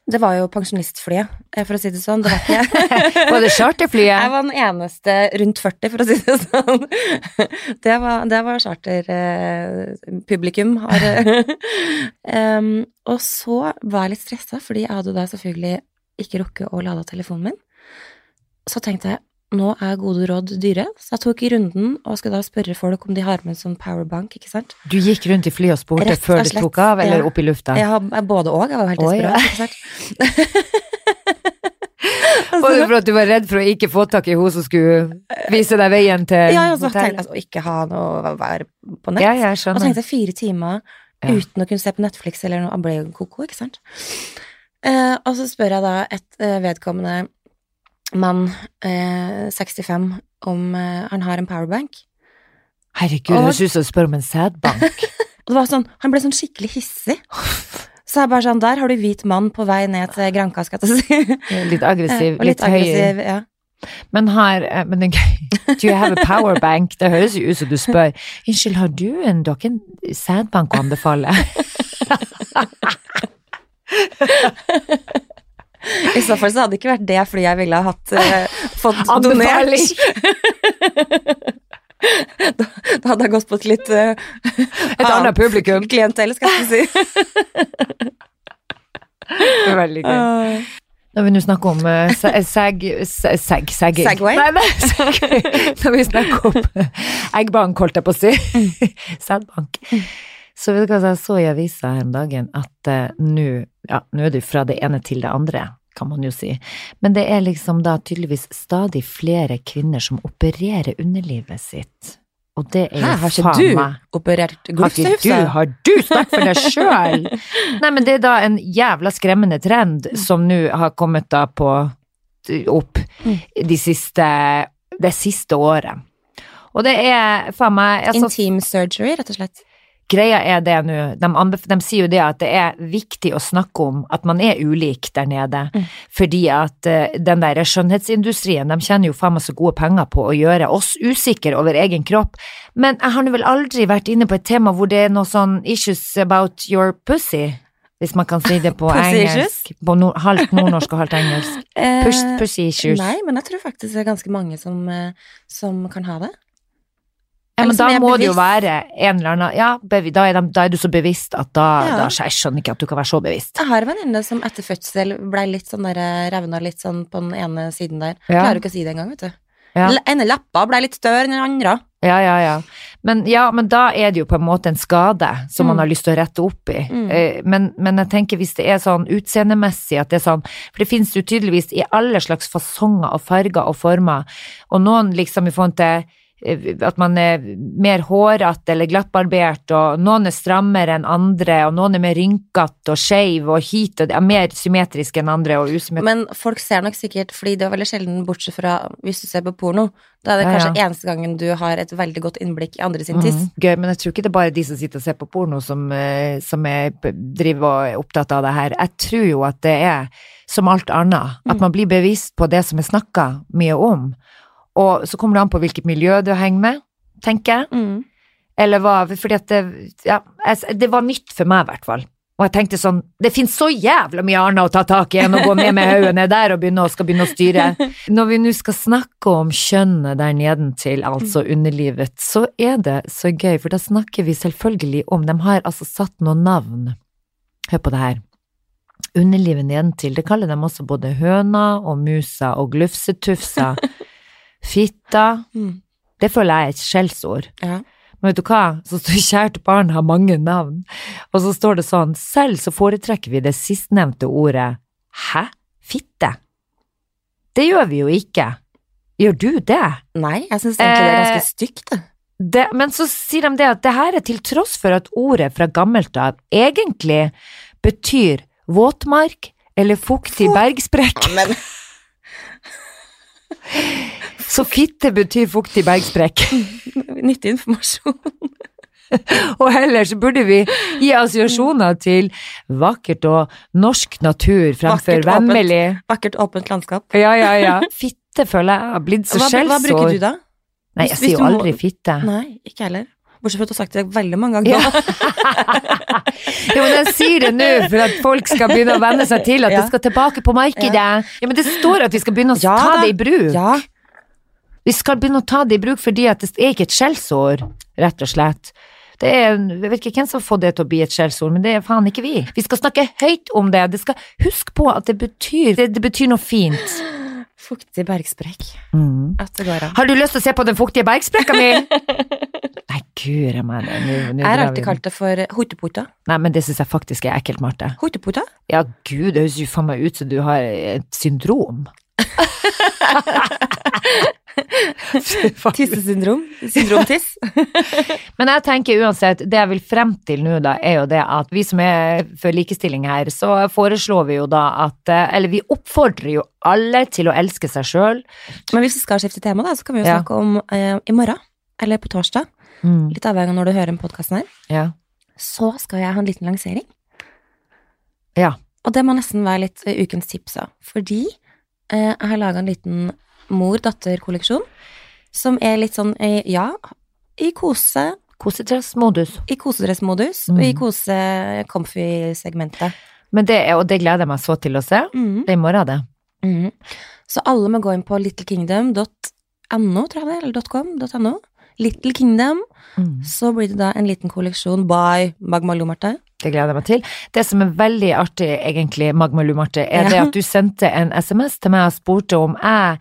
Det var jo pensjonistflyet, eh, for å si det sånn. Det var ikke Var det Jeg [laughs] charterflyet? var den eneste rundt 40, for å si det sånn. [laughs] Det var, det var eh, charterpublikum. um, og så var jeg litt stressa, fordi jeg hadde da selvfølgelig ikke rukket å lade av telefonen min. Så tenkte jeg nå er gode råd dyre, så jeg tok runden og skulle da spørre folk om de har med en sånn powerbank, ikke sant. Du gikk rundt i flyet og spurte Rett før og du slett, tok av, eller ja. opp i lufta? Jeg har jeg både og, jeg var jo helt Å, ja. desperat, [laughs] ikke sant. Var det for at du var redd for å ikke få tak i hun som skulle vise deg veien til Ja, ja, så tenkte jeg hotellet? altså, ikke ha noe å være på nett. Ja, ja, jeg Og skjønner. tenkte jeg fire timer Ja. uten å kunne se på Netflix eller noe ble jo koko, ikke sant? Eh, og så spør jeg da et eh, vedkommende mann, eh, 65, om eh, han har en powerbank. Herregud, det Og- høres ut som du spør om en [laughs] sædbank. Og det var sånn, han ble sånn skikkelig hissig. [laughs] Så jeg bare sånn, der har du hvit mann på vei ned til Granka, skal jeg til å si. Litt aggressiv, [laughs] og litt høy. aggressiv, ja. Men har eh, Men det er gøy. Do you have a powerbank? Det høres jo ut som du spør. Unnskyld, har du en Dere en sædbank å anbefale? I så fall så hadde det ikke vært det flyet jeg ville ha hatt, eh, [laughs] fått Anbefaling. donert. Da hadde jeg gått på et litt eh, Et annet publikum. klientell, skal jeg til å si. [laughs] Veldig gøy. Når vi nå snakker om eh, se- seg... se- seg... segging. Segway? Nei, [laughs] nei, [laughs] seg- Når vi snakker om eh, eggbank, holdt jeg på Mm. å si. [laughs] Sædbank. Så vet du hva jeg så i avisa her om dagen, at eh, nå ja, nå er det fra det ene til det andre. kan man jo si. Men det er liksom da tydeligvis stadig flere kvinner som opererer underlivet sitt. Og det er Hæ, jo har ikke faen du meg operert har ikke du, glufsehufsa? har du snakket for deg sjøl? [laughs] Nei, men det er da en jævla skremmende trend som nå har kommet da på opp de siste, det siste året. Og det er faen meg altså, Intim surgery, rett og slett. Greia er det nå, de, anbef- de sier jo det at det er viktig å snakke om at man er ulik der nede, Mm. fordi at eh, den der skjønnhetsindustrien, de tjener jo faen meg så gode penger på å gjøre oss usikre over egen kropp, men jeg har nå vel aldri vært inne på et tema hvor det er noe sånn issues about your pussy, hvis man kan [laughs] si det på Pussy engelsk, på nord, halvt nordnorsk og halvt engelsk. Eh, Push, pussy issues. Nei, men jeg tror faktisk det er ganske mange som, eh, som kan ha det. Ja, men Eller som da er må det jo bevisst. være en eller annen, ja, bevi- da er, de, da er du så bevisst at da, Ja. da, jeg skjønner ikke at du kan være så bevisst. Jeg har en venninne som etter fødsel ble litt sånn der eh, revna litt sånn på den ene siden der. Ja. Klarer ikke å si det engang, vet du. Ja. Den ene leppa ble litt større enn den andre. Ja, ja, ja. Men, ja, men da er det jo på en måte en skade som man Mm. har lyst til å rette opp i. Mm. Eh, Men, men jeg tenker hvis det er sånn utseendemessig at det er sånn For det finnes jo tydeligvis i alle slags fasonger og farger og former. Og noen liksom i forhold til eh, at man er mer hårete eller glattbarbert, og noen er strammere enn andre, og noen er mer rynkete og skeiv og hit og ja, mer symmetriske enn andre og usymmetriske. Men folk ser nok sikkert, fordi det er veldig sjelden, bortsett fra hvis du ser på porno, da er det Ja, kanskje eneste gangen du har et veldig godt innblikk i andre sin tiss. Mhm. Gøy, men jeg tror ikke det er bare de som sitter og ser på porno som, eh, som er, driver og er opptatt av det her. Jeg tror jo at det er som alt annet, at man blir bevisst på det som er snakka mye om. Og så kommer det an på hvilket miljø du henger med, tenker jeg. Mm. Eller hva, fordi at det, ja, jeg- det var nytt for meg i hvert fall. Og jeg tenkte sånn, det finnes så jævla mye annet å ta tak i enn å gå ned med hodet ned der og begynne, å- skal begynne å styre. Når vi nå skal snakke om kjønnet der nedentil, altså underlivet, så er det så gøy, for da snakker vi selvfølgelig om, de har altså satt noen navn. Hør på det her. Underlivet nedentil, det kaller de også både høna og musa og glufsetufsa. Fitta, Mm. det føler jeg er et skjellsord. Ja. Men vet du hva, så står [laughs] kjært barn har mange navn. Og så står det sånn, selv så foretrekker vi det sistnevnte ordet. Hæ? Fitte? Det gjør vi jo ikke. Gjør du det? Nei, jeg syns egentlig det er Eh, ganske stygt, det. det? Men så sier de det at det her er til tross for at ordet fra gammelt av egentlig betyr våtmark eller fuktig bergsprekk. [laughs] Men [laughs] Så fitte betyr fuktig bergsprekk. [laughs] nyttig informasjon. Og ellers burde vi gi assosiasjoner til vakkert og norsk natur fremfor Vakkert, åpent. vemmelig. Vakkert, åpent landskap. Ja, ja, ja. [laughs] Fitte føler jeg har blitt så Hva, skjellsår. hva bruker du da? Nei, jeg Hvis- hvis sier jo du må- aldri fitte. Nei, ikke jeg heller. Bortsett fra at du har sagt det veldig mange ganger. nå. Jo, men jeg sier det nå for at folk skal begynne å venne seg til at Ja. det skal tilbake på markedet. Ja. men det står at vi skal begynne å Ja ta da. det i bruk. [laughs] Ja. Vi skal begynne å ta det i bruk fordi at det er ikke et skjellsår, rett og slett. Det er, en- jeg vet ikke hvem som har fått det til å bli et skjellsord, men det er faen ikke vi. Vi skal snakke høyt om det. det skal, husk på at det betyr, det, det betyr noe fint. Fuktig bergsprekk. At det går an. Har du lyst til å se på den fuktige bergsprekka mi? [laughs] Nei, guri meg. nei, nå- nå Jeg har drar vi alltid den. kalt det for hotepota. Nei, men det syns jeg faktisk er ekkelt, Marte. Hotepota? Ja, gud, det høres jo faen meg ut som du har et syndrom. Fy faen. Tissesyndrom? Syndromtiss? [laughs] men jeg tenker uansett, det jeg vil frem til nå da, er jo det at vi som er for likestilling her, så foreslår vi jo da at eh, Eller vi oppfordrer jo alle til å elske seg sjøl. Men hvis vi skal skifte tema, da, så kan vi jo Ja. snakke om eh, i morgen, eller på torsdag, litt avhengig av når du hører den podkasten her, Ja. så skal jeg ha en liten lansering. Ja. Og det må nesten være litt eh, ukens tips, da. Fordi eh, jeg har laga en liten mor-datter-kolleksjon som er litt sånn, eh, ja, i kose, Kosetressmodus. i kosedressmodus, og Mm. i kose-comfy-segmentet. Men det er, og det gleder jeg meg så til å se. Mm. Det er i morgen, det. Mhm. Så alle må gå inn på littlekingdom.no, tror jeg det, eller .com, .no. Little Kingdom. Mm. Så blir det da en liten kolleksjon by Magmalou, Marte. Det gleder jeg meg til. Det som er veldig artig, egentlig, Magma Lu Marte, er Ja. det at du sendte en SMS til meg og spurte om jeg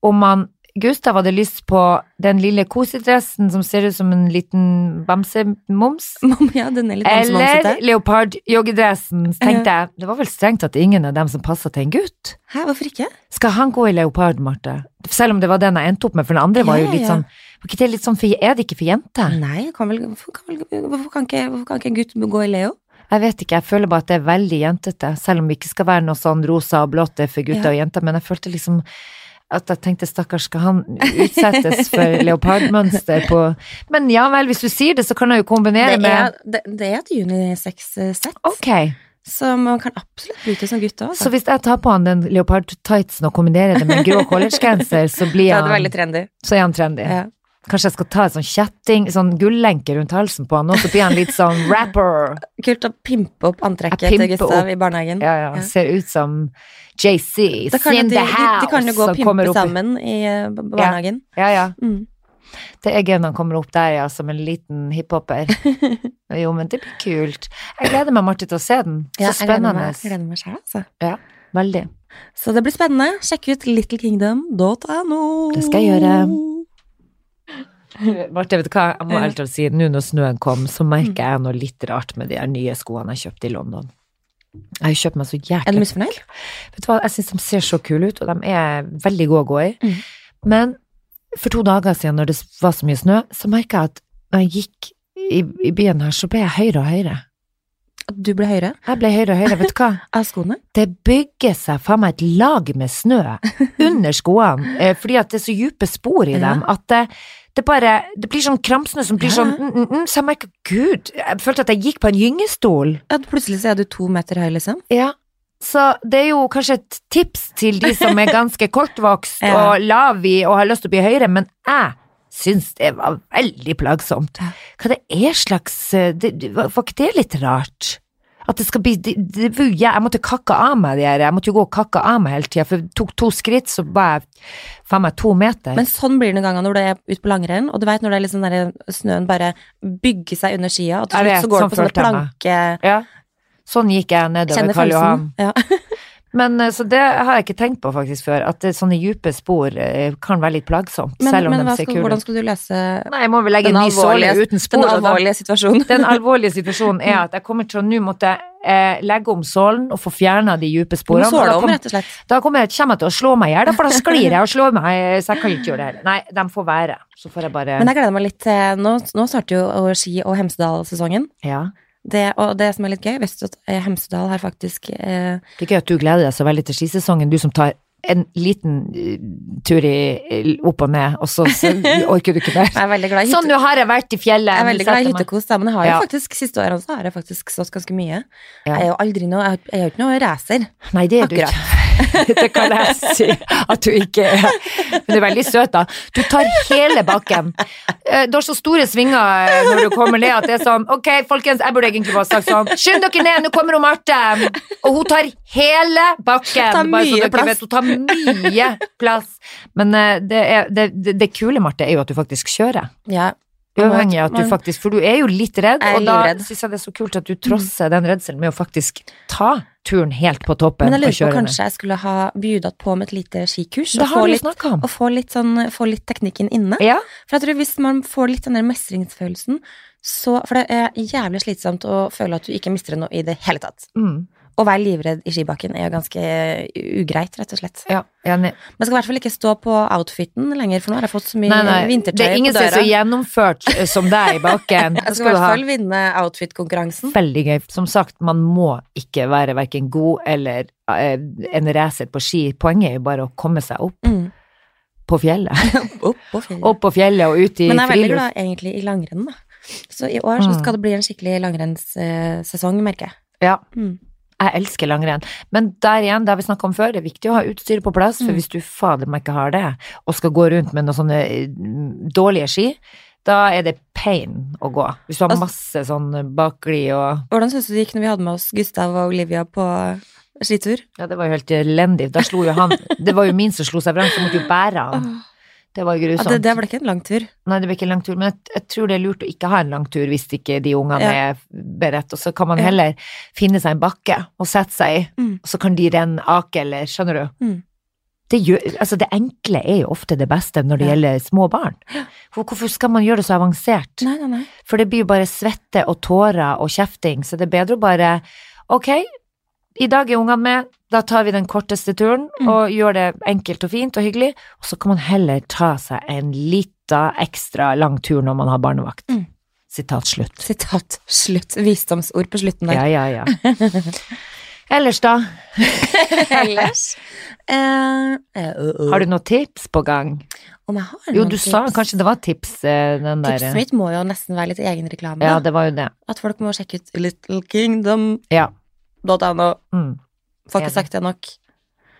Om man Gustav hadde lyst på den lille kosedressen som ser ut som en liten bamsemums. [laughs] Mamma, ja, den er litt Eller mamsemamsete. leopardjoggedressen. Så tenkte jeg, det var vel strengt at ingen av dem som passer til en gutt. Hæ, hvorfor ikke? Skal han gå i leopard, Marte? Selv om det var den jeg endte opp med, for den andre var jo Ja, litt ja. sånn Var ikke det litt sånn for, Er det ikke for jenter? Nei, kan vel, hvorfor, kan vel, hvorfor, kan ikke, hvorfor kan ikke en gutt gå i Leo? Jeg vet ikke, jeg føler bare at det er veldig jentete, selv om det ikke skal være noe sånn rosa og blått det er for gutter Ja. og jenter, men jeg følte liksom at jeg tenkte, stakkars, skal han [laughs] utsettes for leopardmønster på Men ja vel, hvis du sier det, så kan jeg jo kombinere Det med er, det, det er et unisex-sett, Ok, så man kan absolutt bruke det som gutt òg. så hvis jeg tar på han den leopard-tightsen og kombinerer det med en grå collegegenser, så blir Det hadde han, veldig trendy. så er han trendy. Ja. Kanskje jeg skal ta en sånn kjetting, sånn gullenke rundt halsen på han, og så blir han litt sånn rapper. [laughs] Kult å pimpe opp antrekket Jeg til pimper Gustav opp. i barnehagen. Ja, ja, Ja. ser ut som JC, in Da kan jo de, the de, house, de kan jo gå og som kommer pimpe opp i- sammen i eh, b- barnehagen. Ja, ja. Mm. Det er gøy når han kommer opp der, ja, som en liten [laughs] hiphoper. Jo, men det blir kult. Jeg gleder meg, Marte, til å se den. Så Ja, jeg gleder spennende. meg- Jeg gleder meg selv, altså. [laughs] Veldig. Så det blir spennende. Sjekk ut littlekingdom.no. Det skal jeg gjøre. Marte, vet du hva? Jeg må Ja. Mm. helt ærlig si, nå når snøen kom, så merker jeg noe litt rart med de her nye skoene jeg kjøpte i London. Jeg har jo kjøpt meg så Er du jækla misfornøyd? Vet du hva, jeg syns de ser så kule ut, og de er veldig gode å gå i. Mhm. Men for to dager siden, når det var så mye snø, så merka jeg at når jeg gikk i, i byen her, så ble jeg høyere og høyere. At du ble høyere Jeg ble høyere og høyere, vet du hva. av skoene? Det bygger seg faen meg et lag med [laughs] snø under skoene, eh, fordi at det er så dype spor i Ja. dem at det, det bare Det blir sånn kramsnø som blir Ja. sånn mm, mm, mm, Så jeg merker Gud, jeg følte at jeg gikk på en gyngestol. At plutselig så er du to meter høy, liksom? Ja, så det er jo kanskje et tips til de som [laughs] er ganske kortvokst Ja. og lav i og har lyst til å bli høyere, men jeg syns det var veldig plagsomt. Ja. Hva det er slags eh, det, det- Var var ikke det litt rart? At det skal bli det, det, var jo- jeg, jeg måtte kakke av meg de her, jeg måtte jo gå og kakke av meg hele tida, for jeg tok to skritt, så var jeg faen meg to meter. Men sånn blir det noen ganger når du er ute på langrenn, og du vet når det er litt sånn der snøen bare bygger seg under skia, og til Jeg slutt vet, så går sånn du på sånne følte jeg meg. planke... ja. Sånn gikk jeg nedover Kjenner Karl Johan. følelsen. Ja. [laughs] Men eh, så det har jeg ikke tenkt på faktisk før, at det, sånne dype spor eh, kan være litt plagsomt, Men, selv om men de hva ser skal, kule hvordan ut. skal du løse Nei, jeg må vel legge den en ny såle alvorlige- uten spor. den og da- alvorlige situasjonen? [laughs] den [laughs] alvorlige situasjonen er at jeg kommer til å nå måtte eh, legge om sålen og få fjerna de Du dype må sporene. og såle da om, kom- rett og slett. da kommer jeg, kommer jeg til å slå meg i hjel, da, for da sklir jeg og slår meg, eh, så jeg kan ikke gjøre [laughs] det heller. Nei, de får være. Så får jeg bare Men jeg gleder meg litt til Nå, nå starter jo ski- og Hemsedal-sesongen. Ja. det Det, og det som er litt gøy, visste du at eh, Hemsedal har faktisk eh, er gøy at du gleder deg så veldig til skisesongen, du som tar en liten eh, tur i, opp og ned, og så, så orker du ikke mer. Jeg er veldig glad i Sånn, hytte, nå har jeg vært i fjellet. jeg er veldig glad i setter meg- hyttekos, da, men jeg har jo Ja. faktisk siste årene så har jeg faktisk stått ganske mye. Ja. Jeg er jo aldri noe Jeg er jo ikke noe racer. Nei, det er du Akkurat. ikke. [laughs] Det kan jeg si at du ikke er. Men du er veldig søt, da. Du tar hele bakken. Eh, Du har så store svinger eh, når du kommer ned at det er sånn Ok, folkens, jeg burde egentlig bare sagt sånn Skynd dere ned, nå kommer hun Marte! Og hun tar hele bakken. Tar bare mye så dere plass. Vet, hun tar mye plass. Men eh, det, er, det, det, det kule, Marte, er jo at du faktisk kjører. Ja. Uavhengig av at du Man- faktisk For du er jo litt redd, Jeg er og da livredd. syns jeg det er så kult at du trosser den redselen med å faktisk ta turen helt på toppen Men jeg og lurer på kjøre ned. kanskje jeg skulle ha bjudet på med et lite skikurs. Det Og få har du jo litt, snakka om. og få litt, sånn, få litt teknikken inne. Ja, For jeg tror hvis man får litt den der mestringsfølelsen, så For det er jævlig slitsomt å føle at du ikke mestrer noe i det hele tatt. mm, Å være livredd i skibakken er jo ganske ugreit, rett og slett. ja enig. Man skal i hvert fall ikke stå på outfiten lenger, for nå har jeg fått så mye Nei, nei, det vintertøy er på ingen som er døra. så gjennomført eh, som deg i baken. Det [laughs] Jeg skal i skal du hvert ha. fall vinne outfit-konkurransen. Veldig gøy. Som sagt, man må ikke være verken god eller eh, en racer på ski. Poenget er jo bare å komme seg opp Mm. på fjellet. [laughs] Opp på fjellet. Opp på fjellet og ut i Men jeg er veldig friluft. glad egentlig i langrenn, da. Så i år så Mm. skal det bli en skikkelig langrennssesong, merker jeg. Ja. Mm. Jeg elsker langrenn. Men der igjen, det har vi snakka om før, det er viktig å ha utstyret på plass, for Mm. hvis du fader meg ikke har det, og skal gå rundt med noen sånne eh, dårlige ski, da er det pain å gå. Hvis du har Altså- masse sånn bakglid og Hvordan syns du det gikk når vi hadde med oss Gustav og Olivia på skitur? Ja, det var jo helt elendig. Da slo jo han [laughs] Det var jo min som slo seg vrang, så jeg måtte jo bære han. Det var jo Ja, grusomt. det, det ble ikke en lang tur. Nei, det ble ikke en lang tur, men jeg, jeg tror det er lurt å ikke ha en lang tur hvis ikke de ungene Ja. er beredt, og så kan man Ja. heller finne seg en bakke og sette seg i, Mm. og så kan de renne ake, eller skjønner du? Mm. det, gjør, altså det enkle er jo ofte det beste når det Ja. gjelder små barn. For hvorfor skal man gjøre det så avansert? Nei, nei, nei. For det blir jo bare svette og tårer og kjefting, så det er bedre å bare Ok, i dag er ungene med, da tar vi den korteste turen Mm. og gjør det enkelt og fint og hyggelig, og så kan man heller ta seg en lita ekstra lang tur når man har barnevakt. Mm. Sitat slutt. Sitat slutt. Visdomsord på slutten der. Ja, ja, ja. Ellers da, [laughs] Ellers eh, eh, øh, har du noen tips på gang? Om jeg har Jo, noen du sa kanskje det var tips, eh, den der Tipset mitt må jo nesten være litt egenreklame. Ja, da. det var jo det. At folk må sjekke ut littlekingdom.no. Ja. Mm. Får Enig. ikke sagt det nok.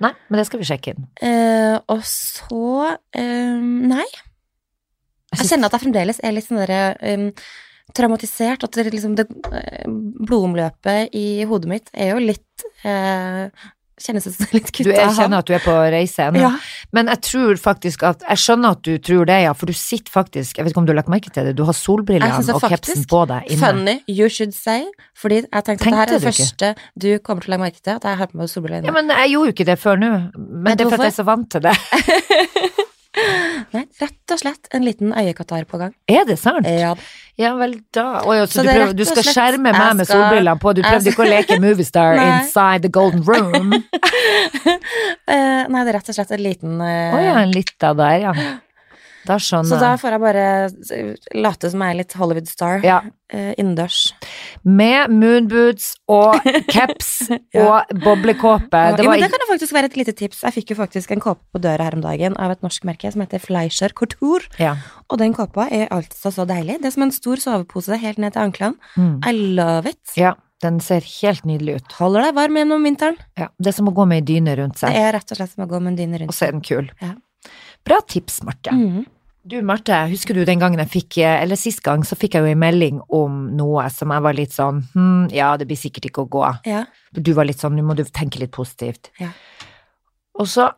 Nei, men det skal vi sjekke inn. Eh, og så eh, Nei. Jeg kjenner at jeg fremdeles er litt sånn der, um, traumatisert. At det, liksom, det eh, blodomløpet i hodet mitt er jo litt eh, Kjennes ut som det er litt Du kutta jeg kjenner at du er på reise ennå. Ja. Men jeg tror faktisk at Jeg skjønner at du tror det, ja, for du sitter faktisk Jeg vet ikke om du har lagt merke til det, du har Jeg synes solbrillene det og capsen faktisk- på deg inne. Funny you should say. Fordi jeg tenkte, at det her Tenkte er det du ikke? første du kommer til å legge merke til. At jeg har på meg solbriller. Ja, nå. men jeg gjorde jo ikke det før nå. Men Vet det du er fordi jeg er så vant til det. [laughs] Nei, rett og slett en liten øyekatarr på gang. Er det sant? Ja. Ja vel, da. Å, ja, så Så du, det er prøver, rett du og skal slett- skjerme jeg meg med skal- solbrillene på, du jeg prøvde ikke å leke moviestar [laughs] Nei. inside the golden [laughs] room. Å Eh, nei, det er rett og slett en liten eh, ja, en lita der, ja. Så da Da skjønner jeg. får jeg bare eh, late som jeg er litt Hollywood-star Ja. eh, innendørs. Med moonboots [laughs] og caps Ja. og boblekåpe. Ja, Eh, Det jo, var men det kan jo faktisk være et lite tips. Jeg fikk jo faktisk en kåpe på døra her om dagen av et norsk merke som heter Fleischer Couture. ja. Og den kåpa er altså så deilig. Det er som en stor sovepose helt ned til anklene. Mm. I love it. ja. Den ser helt nydelig ut. Holder deg varm gjennom vinteren. Ja, det er som å gå med ei dyne rundt Det seg, er rett og slett som å gå med en dyne og rundt. så er den kul. Ja. Bra tips, Marte. Mhm. Du, Marte, husker du den gangen jeg fikk, eh, eller sist gang, så fikk jeg jo en melding om noe som jeg var litt sånn hm, ja, det blir sikkert ikke å gå. Ja. Du var litt sånn, nå må du tenke litt positivt. Ja. Og så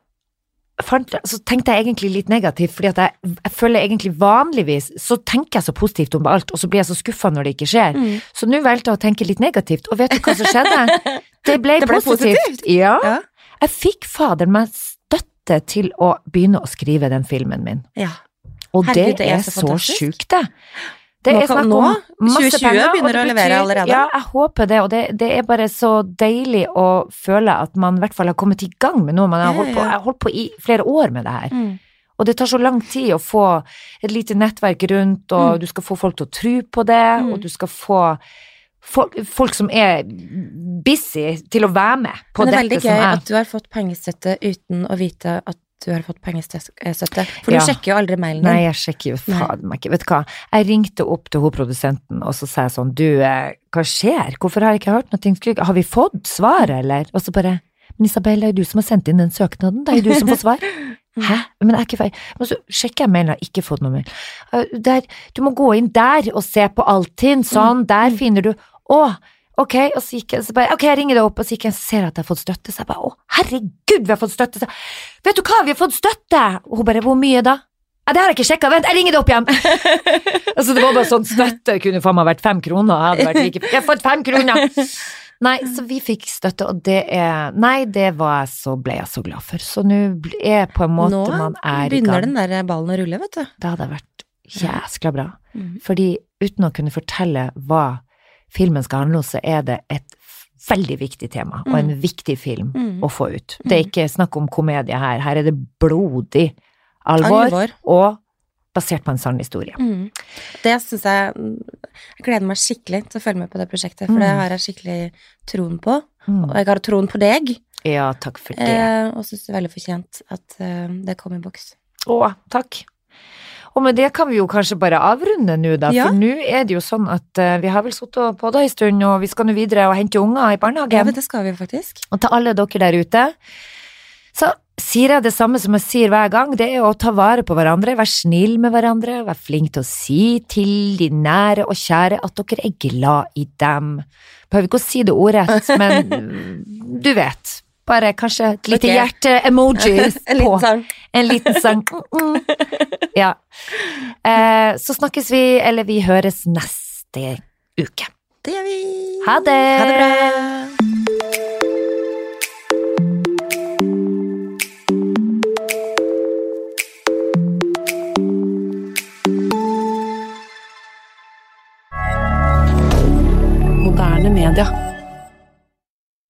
fant, jeg- så tenkte jeg egentlig litt negativt, fordi at jeg, jeg føler egentlig vanligvis så tenker jeg så positivt om alt, og så blir jeg så skuffa når det ikke skjer. Mm. Så nå valgte jeg å tenke litt negativt, og vet du hva som [laughs] skjedde? Det ble, Det ble positivt. positivt. Ja. Ja. Jeg fikk faderen meg støtte til å begynne å skrive den filmen min, ja. og Herregud, det er så, fantastisk. sjukt, det. Det Nå er kan- snakk nå, om masse 2020 penger, og begynner det å levere betyr- allerede. Ja, jeg håper det, og det, det er bare så deilig å føle at man i hvert fall har kommet i gang med noe man har Ja, holdt på, ja. jeg har holdt på i flere år med det her. Mm. Og det tar så lang tid å få et lite nettverk rundt, og Mm. du skal få folk til å tro på det, Mm. og du skal få folk, folk som er busy, til å være med på Men det er veldig dette gøy som er. at du har fått pengestøtte uten å vite at du har fått pengestøtte. For Ja. du sjekker jo aldri mailen Nei, din. jeg sjekker jo Nei. faen meg ikke. Vet du hva, jeg ringte opp til hun produsenten, og så sa jeg sånn, du, eh, hva skjer? Hvorfor har jeg ikke hørt noe? Skulle- Har vi fått svar, eller? Og så bare, men Isabel, det er jo du som har sendt inn den søknaden, det er jo du som får svar. Hæ? Men jeg er ikke feil. Men så sjekker jeg mailen, jeg har ikke fått noe mail. Eh, Der, du må gå inn der og se på Altinn, sånn, der finner du, å, ok, og så gikk jeg, så bare, ok, jeg ringer deg opp, og så gikk jeg, ser at jeg har fått støtte, så jeg bare, å, herregud, vi har fått støtte, så, jeg, vet du hva, vi har fått støtte! Og hun bare, hvor mye da? Ja, det har jeg ikke sjekka, vent, jeg ringer det [laughs] opp igjen! altså, det var bare sånn støtte, det kunne faen meg vært fem kroner, jeg hadde vært like Jeg har fått fem kroner! Nei, så vi fikk støtte, og det er Nei, det var jeg så, ble jeg så glad for. Så nå bl- er på en måte Nå man er i Begynner gang. den der ballen å rulle, vet du. Det hadde vært jæskla bra. Mhm. Fordi uten å kunne fortelle hva filmen skal handle om, så er det et veldig viktig tema, og en viktig film Mm. å få ut. Det er ikke snakk om komedie her. Her er det blodig alvor, Alvor. og basert på en sann historie. Mm. Det syns jeg Jeg gleder meg skikkelig til å følge med på det prosjektet, for det Mm. har jeg skikkelig troen på. Og Mm. jeg har troen på deg, Ja, takk for det. eh, og syns det er veldig fortjent at eh, det kom i boks. Å, takk. Og med det kan vi jo kanskje bare avrunde nå, da. Ja. For nå er det jo sånn at eh, vi har vel sittet på det en stund, og vi skal nå videre og hente unger i Ja, barnehagen. men det skal vi jo faktisk. Og til alle dere der ute, så sier jeg det samme som jeg sier hver gang, det er å ta vare på hverandre, være snill med hverandre, være flink til å si til de nære og kjære at dere er glad i dem. Behøver ikke å si det [laughs] ordrett, men mm, du vet. Bare kanskje et lite Ok. hjerte-emoji [laughs] En på. liten sang. En liten [laughs] sang. Mm, mm. Ja. Eh, så snakkes vi, eller vi høres neste uke. Det gjør vi. Ha det! Ha det bra. moderne media.